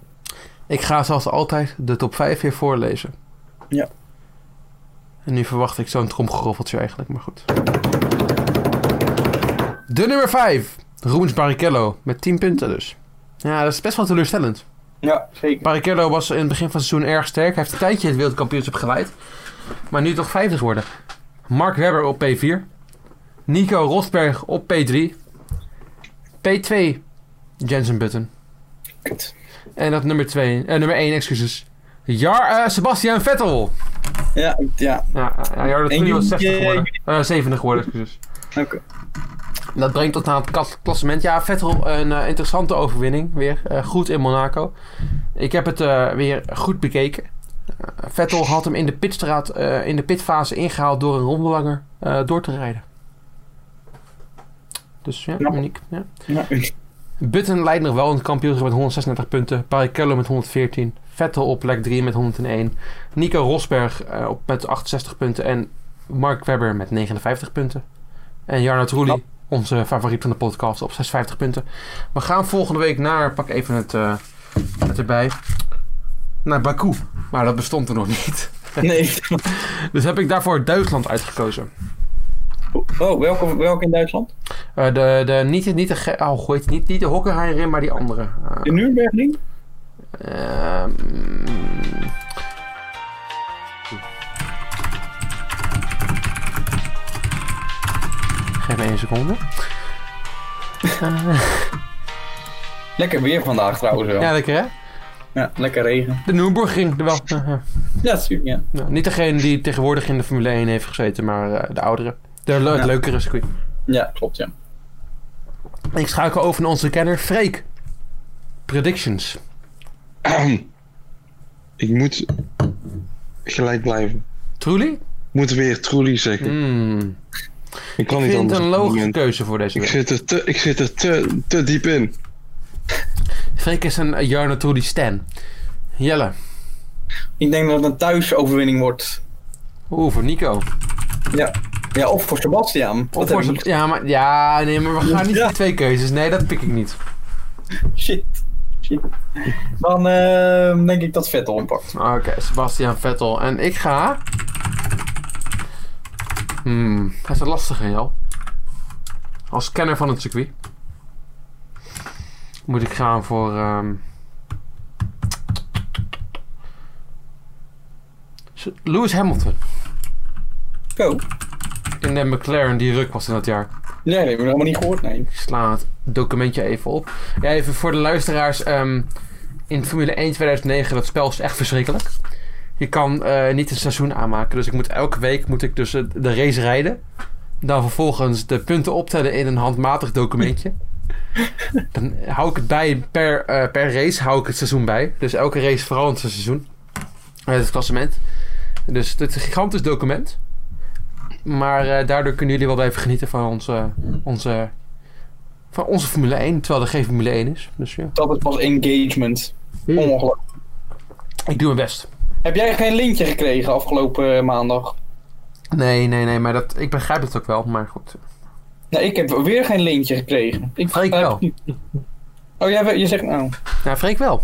Ik ga zoals altijd de top 5 weer voorlezen. Ja. En nu verwacht ik zo'n tromgeroffeltje eigenlijk, maar goed. De nummer 5, Roens Barrichello, met 10 punten dus. Ja, dat is best wel teleurstellend. ja, zeker. Barrichello was in het begin van het seizoen erg sterk. Hij heeft een tijdje het wereldkampioenschap geleid. Maar nu toch 50 worden. Mark Webber op P4. Nico Rosberg op P3. P2 Jensen Button. Kut. En dat nummer 2, eh, nummer 1, excuses. Jar, eh, Sebastian Vettel. Ja, ja. Ja, ja Jarno Trulli was 60 geworden. Eh, 70 geworden, excuses. Oké. Dat brengt tot aan het klas- klassement. Ja, Vettel een eh, interessante overwinning weer. Eh, goed in Monaco. Ik heb het eh, weer goed bekeken. Eh, Vettel had hem in de pitstraat, eh, in de pitfase ingehaald door een rondelanger eh, door te rijden. Dus ja, Ja. uniek. Ja. Nou, Button leidt nog wel in het kampioenschap met 136 punten. Barrichello met 114. Vettel op plek 3 met 101. Nico Rosberg eh, op, met 68 punten. En Mark Webber met 59 punten. En Jarno Trulli, onze favoriet van de podcast, op 56 punten. We gaan volgende week naar, pak even het, eh, het erbij, naar Baku. Maar dat bestond er nog niet. nee. Dus heb ik daarvoor Duitsland uitgekozen. Oh, welke, welke in Duitsland? Eh, de, de, niet, niet, de, ge- oh, hoe heet het? niet, niet de Hockenheimring, maar die andere. Eh, De Nürnbergring? Ehm. Geef me één seconde. Lekker weer vandaag trouwens wel. Ja, Ja, lekker hè? lekker regen. De Nürburgring, ging er wel. Eh, eh. Ja, super, ja. Nou, niet degene die tegenwoordig in de Formule 1 heeft gezeten, maar eh, de oudere. De le- het Ja. leukere circuit. Ja, klopt, ja. Ik schakel over naar onze kenner Freek. Predictions. Ik moet gelijk blijven. Truly? Ik moet weer Truly zeggen. Hmm. Ik kan Ik niet vind anders. het een op dit logische moment. keuze voor deze Ik week. zit er, te, ik zit er te, te diep in. Freek is een eh, Jarno Trudy Stan. Jelle. Ik denk dat het een thuisoverwinning wordt. Oeh, voor Nico. Ja, of voor Sebastian. Of Wat heb voor ik ze- ja, maar, ja, nee, maar we gaan niet Ja. die twee keuzes. Nee, dat pik ik niet. niet- Shit. Shit. Dan ehm, denk ik dat Vettel hem pakt. Oké, Sebastian Vettel. En ik ga... Hmm, hij is een lastige, Jel. Als kenner van het circuit. Moet ik gaan voor... ehm, Lewis Hamilton. Go. In de McLaren die ruk was in dat jaar. Nee, dat hebben we helemaal niet gehoord, nee. Ik sla het documentje even op. Ja, even voor de luisteraars. ehm, in Formule 1 2009, dat spel is echt verschrikkelijk. Je kan eh, niet een seizoen aanmaken. Dus ik moet elke week moet ik dus eh, de race rijden. Dan vervolgens de punten optellen in een handmatig documentje. Dan hou ik het bij per, eh, per race hou ik het seizoen bij. Dus elke race verandert zijn seizoen. Eh, Het klassement. Dus het is een gigantisch document. Maar eh, daardoor kunnen jullie wel blijven genieten van onze, onze van onze Formule 1, terwijl er geen Formule 1 is. Dus ja. Dat is pas engagement. Hmm. Ongelooflijk. Ik doe mijn best. Heb jij geen lintje gekregen afgelopen eh, maandag? Nee, nee, nee, maar dat, ik begrijp het ook wel. Maar goed. Nou, ik heb weer geen lintje gekregen. Ik Freek heb- wel. Oh, jij, wel- je zegt nou. Nou, Freek wel.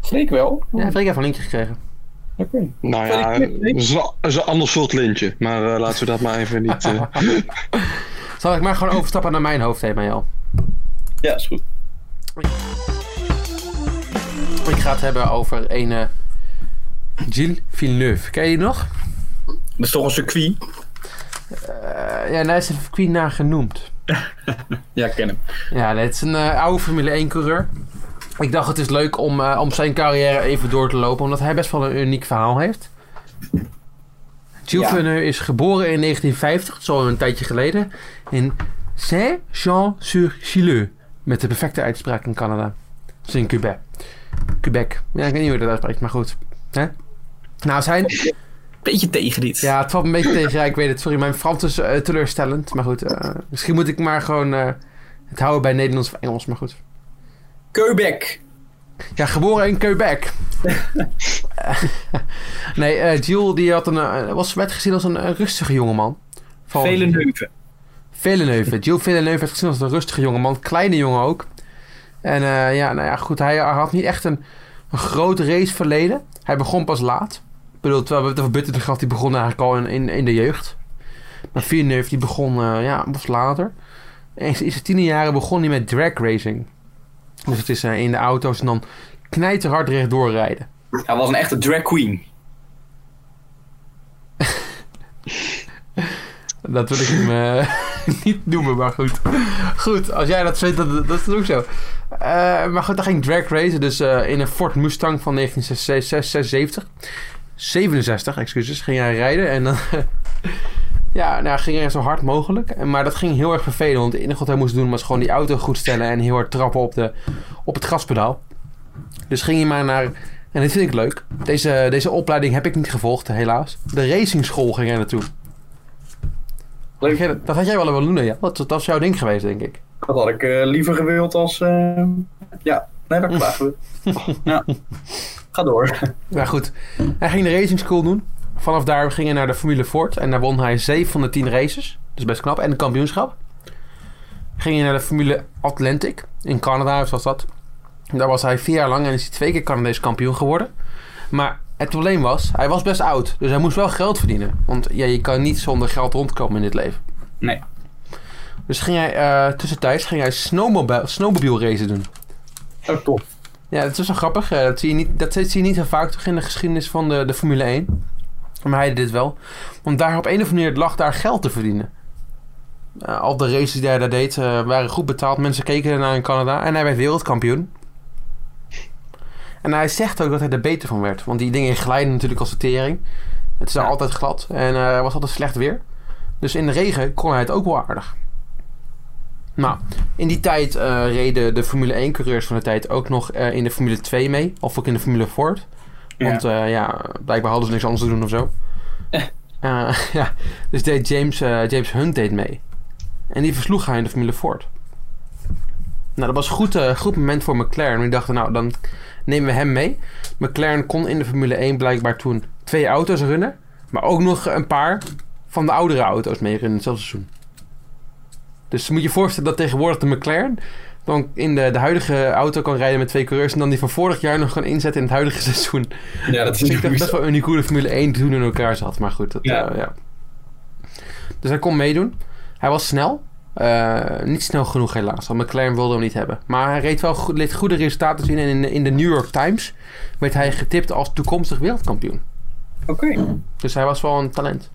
Freek wel? Ja, Freek heeft een linkje gekregen. Oké. Nou ja, dat is wel- dat is een ander soort lintje. Maar eh, laten we dat maar even niet... eh, Zal ik maar gewoon overstappen naar mijn hoofdthema, Jel? Ja, is goed. gaat hebben over een eh Gilles Villeneuve. Ken je die nog? Dat is toch een circuit? Eh, ja, daar is een Queen naar genoemd. Ja, ik ken hem. Ja, dat is een eh, oude Formule 1 coureur. Ik dacht het is leuk om, eh, om zijn carrière even door te lopen, omdat hij best wel een uniek verhaal heeft. Gilles Ja. Villeneuve is geboren in 1950, dat is al een tijdje geleden, in Saint-Jean-sur-Chileu. Met de perfecte uitspraak in Canada. Dus in Quebec. Quebec. Ja, ik weet niet hoe je dat uitspreekt, maar goed. Hè? Nou, zijn Beetje tegen dit. ja, het valt een beetje tegen. Ja, ik weet het. Sorry, mijn Frans is eh, teleurstellend. Maar goed, eh, misschien moet ik maar gewoon eh, het houden bij Nederlands of Engels. Maar goed. Quebec. Ja, geboren in Quebec. Eh, nee, eh, Jules die had een, eh, was, werd gezien als een eh, rustige jongeman. Van- Vele neuven. Villeneuve. Gilles Villeneuve werd gezien als een rustige jongeman. Kleine jongen ook. En eh, ja, nou ja, goed. Hij had niet echt een, een groot raceverleden. Hij begon pas laat. Ik bedoel, terwijl we het over Button gehad, die begon eigenlijk al in, in, in de jeugd. Maar Villeneuve, die begon eh, ja, pas later. En in zijn tiende jaren begon hij met drag racing. Dus het is eh, in de auto's en dan knijterhard rechtdoor rijden. Hij was een echte drag queen. Dat wil ik hem eh, niet noemen, maar goed. Goed, als jij dat vindt, dat, dat is ook zo. Eh, maar goed, dan ging drag racen, dus eh, in een Ford Mustang van 1976. 67, excuses, ging hij rijden en dan... ja, nou, ging hij zo hard mogelijk. En- Maar dat ging heel erg vervelend, want het enige wat hij moest doen was gewoon die auto goed stellen en heel hard trappen op, de, op het gaspedaal. Dus ging hij maar naar... En dit vind ik leuk. Deze, deze opleiding heb ik niet gevolgd, helaas. De racingschool ging hij naartoe. Gerrit, Dat had jij wel willen doen, ja. Dat, dat is jouw ding geweest, denk ik. Dat had ik eh, liever gewild als... eh, Ja, nee, daar klagen we. ja. Ga door. Maar Nou goed, hij ging de racing school doen. Vanaf daar ging hij naar de Formule Ford. En daar won hij 7 van de 10 races. Dus best knap. En een kampioenschap. Ging hij naar de Formule Atlantic. In Canada was dat. Daar was hij vier jaar lang en is hij twee keer Canadees kampioen geworden. Maar het probleem was, hij was best oud. Dus hij moest wel geld verdienen. Want ja, je kan niet zonder geld rondkomen in dit leven. Nee. Dus ging hij, eh, tussentijds ging hij snowmobile, snowmobile racen doen. Oh, tof. Ja, dat is wel grappig. Eh, Dat zie je niet, dat zie je niet heel vaak toch in de geschiedenis van de, de Formule 1. Maar hij deed dit wel. Want daar op een of andere manier lag daar geld te verdienen. Eh, al de races die hij daar deed eh, waren goed betaald. Mensen keken ernaar in Canada. En hij werd wereldkampioen. En hij zegt ook dat hij er beter van werd. Want die dingen glijden natuurlijk als de tering. Het is daar altijd glad. En eh, er was altijd slecht weer. Dus in de regen kon hij het ook wel aardig. Nou, in die tijd eh, reden de Formule 1-coureurs van de tijd ook nog eh, in de Formule 2 mee. Of ook in de Formule Ford. Ja. Want eh, ja, blijkbaar hadden ze niks anders te doen of zo. Eh, ja. Dus deed James, eh, James Hunt deed mee. En die versloeg hij in de Formule Ford. Nou, dat was een goed, eh, goed moment voor McLaren. Die dachten, nou, dan nemen we hem mee. McLaren kon in de Formule 1 blijkbaar toen twee auto's runnen. Maar ook nog een paar van de oudere auto's mee runnen in hetzelfde seizoen. Dus moet je je voorstellen dat tegenwoordig de McLaren dan in de, de huidige auto kan rijden met twee coureurs. En dan die van vorig jaar nog kan inzetten in het huidige seizoen. Ja, dat Dus ik is dacht best niet wel uniek hoe de Formule 1 toen in elkaar zat. Maar goed, dat, Ja. eh, ja. Dus hij kon meedoen. Hij was snel. Eh, niet snel genoeg helaas, want McLaren wilde hem niet hebben. Maar hij reed wel goed, liet goede resultaten zien. En in de, in de New York Times werd hij getipt als toekomstig wereldkampioen. Oké. Dus hij was wel een talent.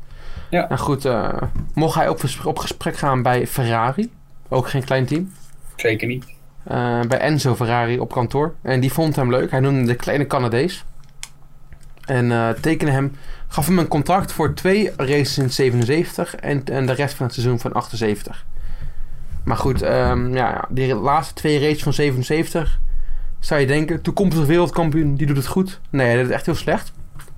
Ja. Nou goed, eh, mocht hij op, vers- op gesprek gaan bij Ferrari. Ook geen klein team. Zeker niet. Eh, bij Enzo Ferrari op kantoor. En die vond hem leuk. Hij noemde hem de kleine Canadees. En eh, tekende hem, gaf hem een contract voor twee races in 77 en, en de rest van het seizoen van 78. Maar goed, ehm, ja, die laatste twee races van 77 zou je denken, toekomstig wereldkampioen, die doet het goed. Nee, hij deed het echt heel slecht.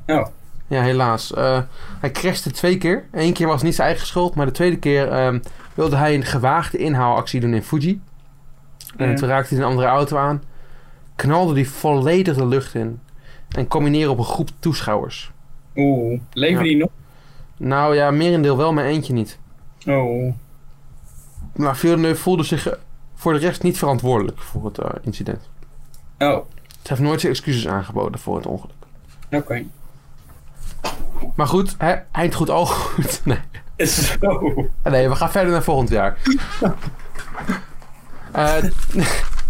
Ja. Ja, helaas. Eh, hij crashte twee keer. Eén keer was het niet zijn eigen schuld, maar de tweede keer ehm, wilde hij een gewaagde inhaalactie doen in Fuji. En Ja. toen raakte hij een andere auto aan, knalde die volledig de lucht in en kwam hij neer op een groep toeschouwers. Oeh. Leven Ja. die nog? Nou ja, merendeel wel, maar eentje niet. Oh. Maar Villeneuve voelde zich eh, voor de rest niet verantwoordelijk voor het eh, incident. Oh, oké. Ze heeft nooit zijn excuses aangeboden voor het ongeluk. Maar goed, hè, eind goed, al goed. Nee. Zo. Ah, Nee, we gaan verder naar volgend jaar. Eh,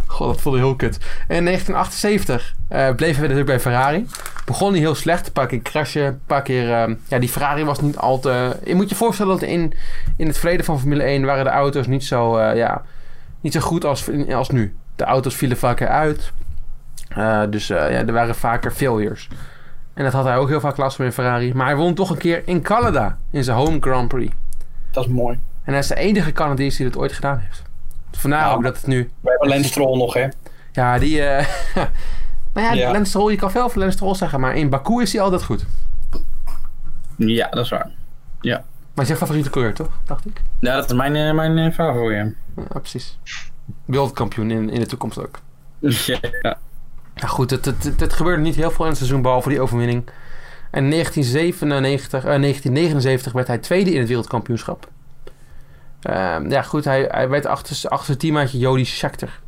God, dat voelde heel kut. En in 1978 eh, bleven we natuurlijk bij Ferrari. Begon die heel slecht. Een paar keer crashen, een paar keer... ehm, ja, die Ferrari was niet al te... Je moet je voorstellen dat in, in het verleden van Formule 1 waren de auto's niet zo, eh, ja, niet zo goed als, als nu. De auto's vielen vaker uit. Eh, dus eh, ja, er waren vaker failures. En dat had hij ook heel vaak last van in Ferrari. Maar hij won toch een keer in Canada. In zijn home Grand Prix. Dat is mooi. En hij is de enige Canadees die dat ooit gedaan heeft. Vandaar Ja. ook dat het nu... We hebben Lance Stroll nog, hè? Ja, die... eh nou ja, Ja. Lance Stroll, je kan veel van Lance Stroll zeggen. Maar in Baku is hij altijd goed. Ja, dat is waar. Maar is jouw favoriete coureur, toch? Dacht ik. Ja, dat is mijn, eh, mijn eh, favoriet. Ja, precies. Wereldkampioen in, in de toekomst ook. Ja. Nou goed, het, het, het, het gebeurde niet heel veel in het seizoen, behalve die overwinning. En in 1997, eh, 1979 werd hij tweede in het wereldkampioenschap. Ehm, ja, goed, hij, hij werd achter, z'n- achter zijn teammaatje Jody Scheckter.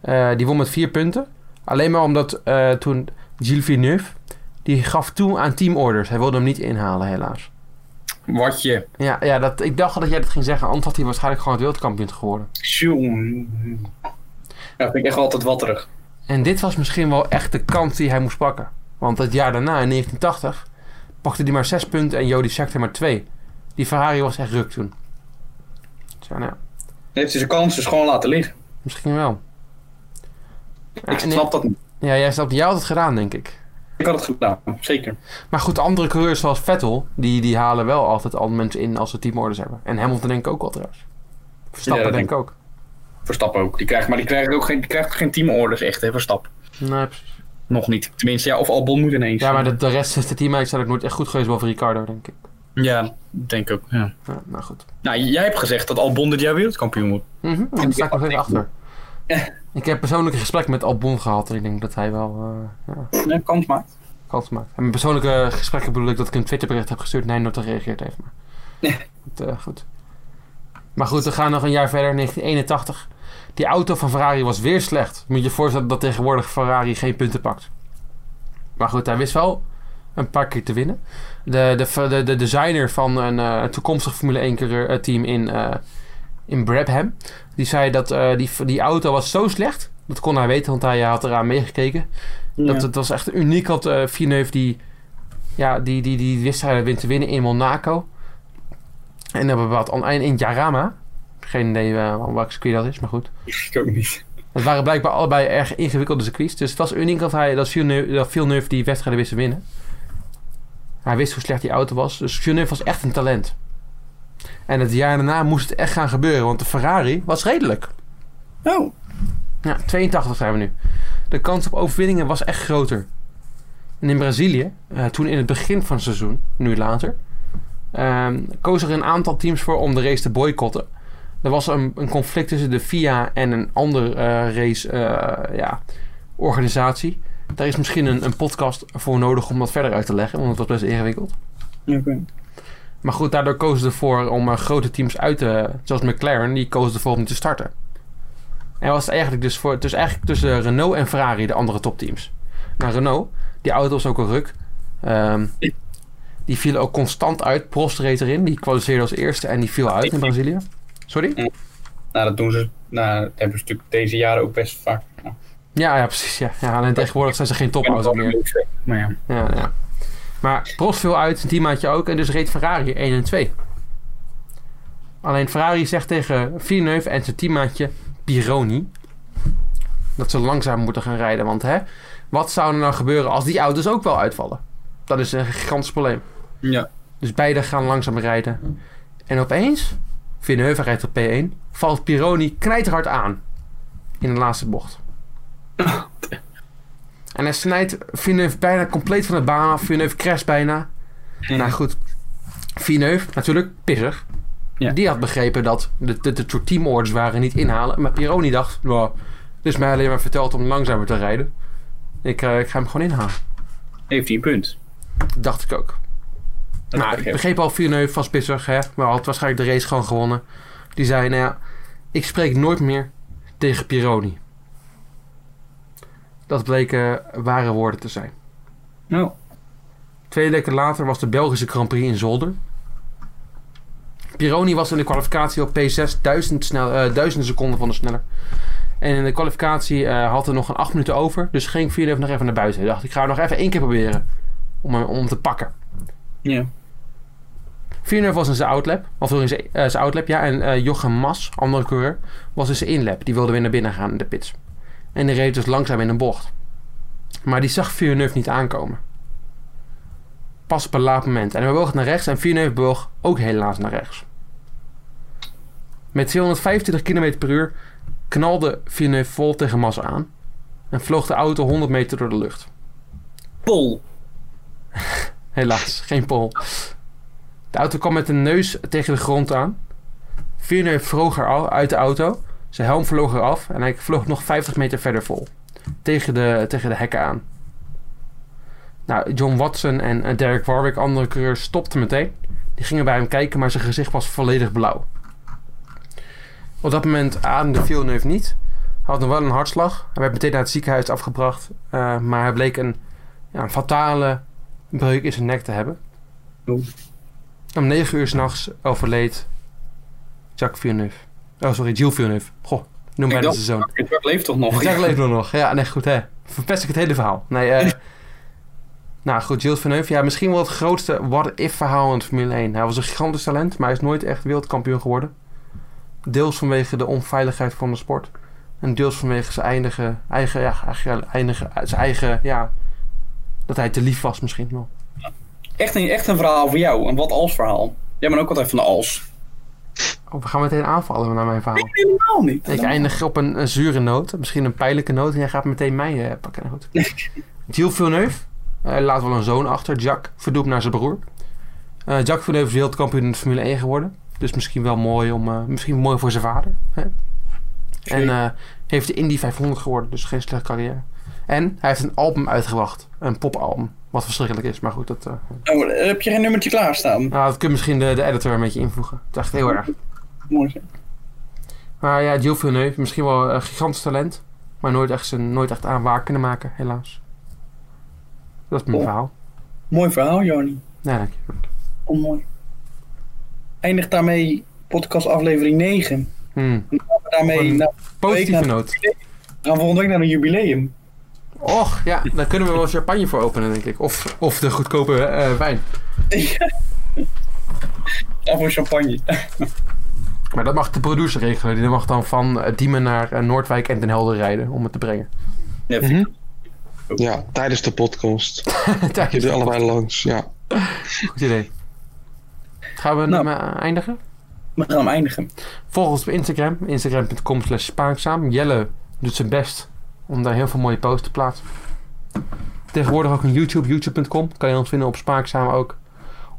Eh, die won met vier punten. Alleen maar omdat eh, toen Gilles Villeneuve... die gaf toe aan teamorders. Hij wilde hem niet inhalen, helaas. Wat je. Ja, ja dat, ik dacht al dat jij dat ging zeggen. Anders had hij waarschijnlijk gewoon het wereldkampioen geworden. Tjoen. Ja, vind ik echt wel altijd watterig. En dit was misschien wel echt de kans die hij moest pakken. Want het jaar daarna, in 1980, pakte hij maar 6 punten en Jody Scheckter maar 2. Die Ferrari was echt ruk toen. Zo, nou, ja, Heeft hij zijn kansen dus gewoon laten liggen. misschien wel. Ja, Ik en- snap dat niet. Ja, jij snapt, jij had het gedaan, denk ik. Ik had het gedaan, zeker. Maar goed, andere coureurs zoals Vettel, die, die halen wel altijd al mensen in als ze teamorders hebben. En Hamilton denk ik ook wel trouwens. Verstappen Ja, dat denk ik ook. Verstappen ook. Die krijgt, maar die krijgt ook geen, die krijgt geen teamorders echt, hè, Verstappen. Nee, precies. Nog niet. Tenminste, ja, of Albon moet ineens. Ja, maar de, de rest is de teammates zijn ook nooit echt goed geweest, behalve Ricardo, denk ik. Ja, denk ook, ja. Ja, nou goed. Nou, jij hebt gezegd dat Albon dit jaar wereldkampioen wordt. Mhm, en daar sta ik nog even achter. Ja. Ik heb persoonlijk een gesprek met Albon gehad en ik denk dat hij wel eh, ja, Nee, kans maar. kans maakt. En met persoonlijke gesprekken bedoel ik dat ik een Twitterbericht heb gestuurd en hij nooit gereageerd heeft. Maar Ja. goed, eh, goed. Maar goed, we gaan nog een jaar verder, 1981. Die auto van Ferrari was weer slecht. Moet je je voorstellen dat tegenwoordig Ferrari geen punten pakt. Maar goed, hij wist wel een paar keer te winnen. De, de, de, de designer van een eh, toekomstig Formule 1-team in, eh, in Brabham... Die zei dat eh, die, die auto was zo slecht. Dat kon hij weten, want hij had eraan meegekeken. Dat het was echt uniek had eh Villeneuve die, ja, die, die, die wist hij wint te winnen in Monaco. En dan bepaald aan in Jarama. Geen idee eh, waar welk circuit dat is, maar goed. Ik ook niet. Het waren blijkbaar allebei erg ingewikkelde circuits. Dus het was uniek dat, hij, dat, Villeneuve, dat Villeneuve die wedstrijden wist te winnen. Hij wist hoe slecht die auto was. Dus Villeneuve was echt een talent. En het jaar daarna moest het echt gaan gebeuren. Want de Ferrari was redelijk. Oh. Ja, 82 zijn we nu. De kans op overwinningen was echt groter. En in Brazilië, eh, toen in het begin van het seizoen, nu later, ehm, kozen er een aantal teams voor om de race te boycotten. Er was een, een conflict tussen de FIA en een eh, andere race-organisatie. eh, Daar is misschien een, een podcast voor nodig om dat verder uit te leggen, want het was best ingewikkeld. Oké. Maar goed, daardoor kozen ze ervoor om eh, grote teams uit te... Zoals McLaren, die kozen ervoor om te starten. En was het eigenlijk dus voor... Dus eigenlijk tussen Renault en Ferrari, de andere topteams. Nou, Renault, die auto was ook een ruk. Ehm, die vielen ook constant uit. Prost reed erin, die kwalificeerde als eerste en die viel uit in Brazilië. Sorry? Nou, dat doen ze. Nou, dat hebben ze natuurlijk deze jaren ook best vaak. Nou, Oh, Ja, ja precies. Ja. Ja, alleen tegenwoordig zijn ze geen ik ben topauto wel meer. een leuk Maar ja. Ja, nou ja. Maar Prost viel uit, zijn teammaatje ook. En dus reed Ferrari 1 en 2. Alleen Ferrari zegt tegen Villeneuve en zijn teammaatje Pironi... dat ze langzaam moeten gaan rijden. Want hè, wat zou er nou gebeuren als die auto's ook wel uitvallen? Dat is een gigantisch probleem. Ja. Dus beide gaan langzaam rijden. En opeens, Villeneuve rijdt op P1... valt Pironi knijterhard aan in de laatste bocht. En hij snijdt Villeneuve bijna compleet van de baan af. Villeneuve crasht bijna. Nou goed, Villeneuve, natuurlijk pissig. Ja. Die had begrepen dat de, de, de soort teamorders waren niet inhalen. Maar Pironi dacht, nou, het is mij alleen maar verteld om langzamer te rijden. Ik, eh, ik ga hem gewoon inhalen. Heeft hij een punt? Dat dacht ik ook. Dat nou, heb ik ik begreep al Villeneuve van Spitzer, hè. Maar had waarschijnlijk de race gewoon gewonnen. Die zei, nou ja, ik spreek nooit meer tegen Pironi. Dat bleken ware woorden te zijn. Nou, Twee weken later was de Belgische Grand Prix in Zolder. Pironi was in de kwalificatie op P6 duizend, snel, eh, duizenden seconden van de sneller. En in de kwalificatie eh, had er nog een acht minuten over. Dus ging Villeneuve nog even naar buiten. Ik dacht, ik ga hem nog even één keer proberen om hem, om hem te pakken. Ja. Villeneuve was in zijn outlap. Of sorry, in zijn, eh, zijn outlap, ja. En eh, Jochem Mas, andere coureur, was in zijn inlap. Die wilde weer naar binnen gaan in de pits. En die reed dus langzaam in een bocht. Maar die zag Villeneuve niet aankomen. Pas op een laat moment. En hij bewoog naar rechts. En Villeneuve bewoog ook helaas naar rechts. Met 225 km per uur knalde Villeneuve vol tegen Mas aan. En vloog de auto 100 meter door de lucht. Pol. Helaas, geen pol. De auto kwam met de neus tegen de grond aan. Villeneuve vroeg er al uit de auto. Zijn helm vloog eraf en hij vloog nog 50 meter verder vol. Tegen de, tegen de hekken aan. Nou, John Watson en eh, Derek Warwick, andere coureurs, stopten meteen. Die gingen bij hem kijken, maar zijn gezicht was volledig blauw. Op dat moment ademde Villeneuve niet. Hij had nog wel een hartslag. Hij werd meteen naar het ziekenhuis afgebracht. eh, maar hij bleek een, ja, een fatale breuk in zijn nek te hebben. Oh. Om 9 uur s'nachts overleed Jacques Villeneuve. Oh, sorry, Gilles Villeneuve. Goh, noem bijna dacht- zijn zoon. Het werk leeft toch nog? Jack leeft nog. Ja, nee, goed hè. Verpest ik het hele verhaal. Nee, eh, nou goed, Gilles Villeneuve. Ja, misschien wel het grootste what-if verhaal in de Formule 1. Hij was een gigantisch talent, maar hij is nooit echt wereldkampioen geworden. Deels vanwege de onveiligheid van de sport. En deels vanwege zijn eindige, eigen, ja, eigen, eindige, zijn eigen, ja, dat hij te lief was misschien wel. Echt een, echt een verhaal voor jou. Een wat als verhaal. Jij bent ook altijd van de als. Oh, we gaan meteen aanvallen naar mijn verhaal. Helemaal niet. Ik eindig op een, een zure noot, misschien een pijnlijke noot. En jij gaat meteen mij eh, pakken. Nou, Goed. Gilles Villeneuve eh, laat wel een zoon achter. Jack verdoept naar zijn broer. Eh, Jacques Villeneuve is wereldkampioen in de Formule 1 geworden. Dus misschien wel mooi, om, eh, misschien mooi voor zijn vader. Hè? En Zeker. eh, heeft de Indy 500 geworden, dus geen slechte carrière. En hij heeft een album uitgebracht, een popalbum. Wat verschrikkelijk is, maar goed, dat, eh, Nou, eh, heb je geen nummertje klaarstaan? nou, dat kun je misschien de, de editor een beetje invoegen. Dat is echt heel erg. Mooi zeg. Maar ja, Gilles Villeneuve, misschien wel een gigantisch talent. Maar nooit echt, zijn, nooit echt aan waar kunnen maken, helaas. Dat is mijn Oh. verhaal. Mooi verhaal, Joni. Nee, dank je. Oh, mooi. Eindigt daarmee podcast aflevering 9. Hmm, Daarmee Een nou, Positieve Week na- noot. we gaan volgende week naar een jubileum. Och, ja, daar kunnen we wel champagne voor openen, denk ik. Of, of de goedkope eh, wijn. Af voor champagne. Maar dat mag de producer regelen. Die mag dan van eh, Diemen naar eh, Noordwijk en Den Helder rijden om het te brengen. Ja, Mhm. Ja, tijdens de podcast. Tijdens Jullie de allebei langs, ja. Goed idee. Gaan we Nou. hem eh, eindigen? We gaan hem eindigen. Volg ons op Instagram. Instagram.com slash spaakzaam. Jelle doet zijn best om daar heel veel mooie posts te plaatsen. Tegenwoordig ook een YouTube. YouTube.com. Kan je ons vinden op Spaakzaam ook.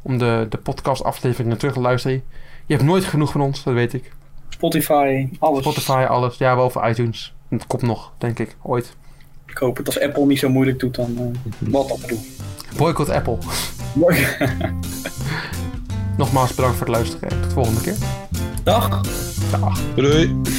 Om de, de podcast afleveringen terug te luisteren. Je hebt nooit genoeg van ons, dat weet ik. Spotify, alles. Spotify, alles. Ja, boven iTunes. En Het komt nog, denk ik. Ooit. Ik hoop het als Apple niet zo moeilijk doet dan eh, wat dat doet. Boycott Apple. Nogmaals bedankt voor het luisteren. en Tot de volgende keer. Dag. Doei, Doei.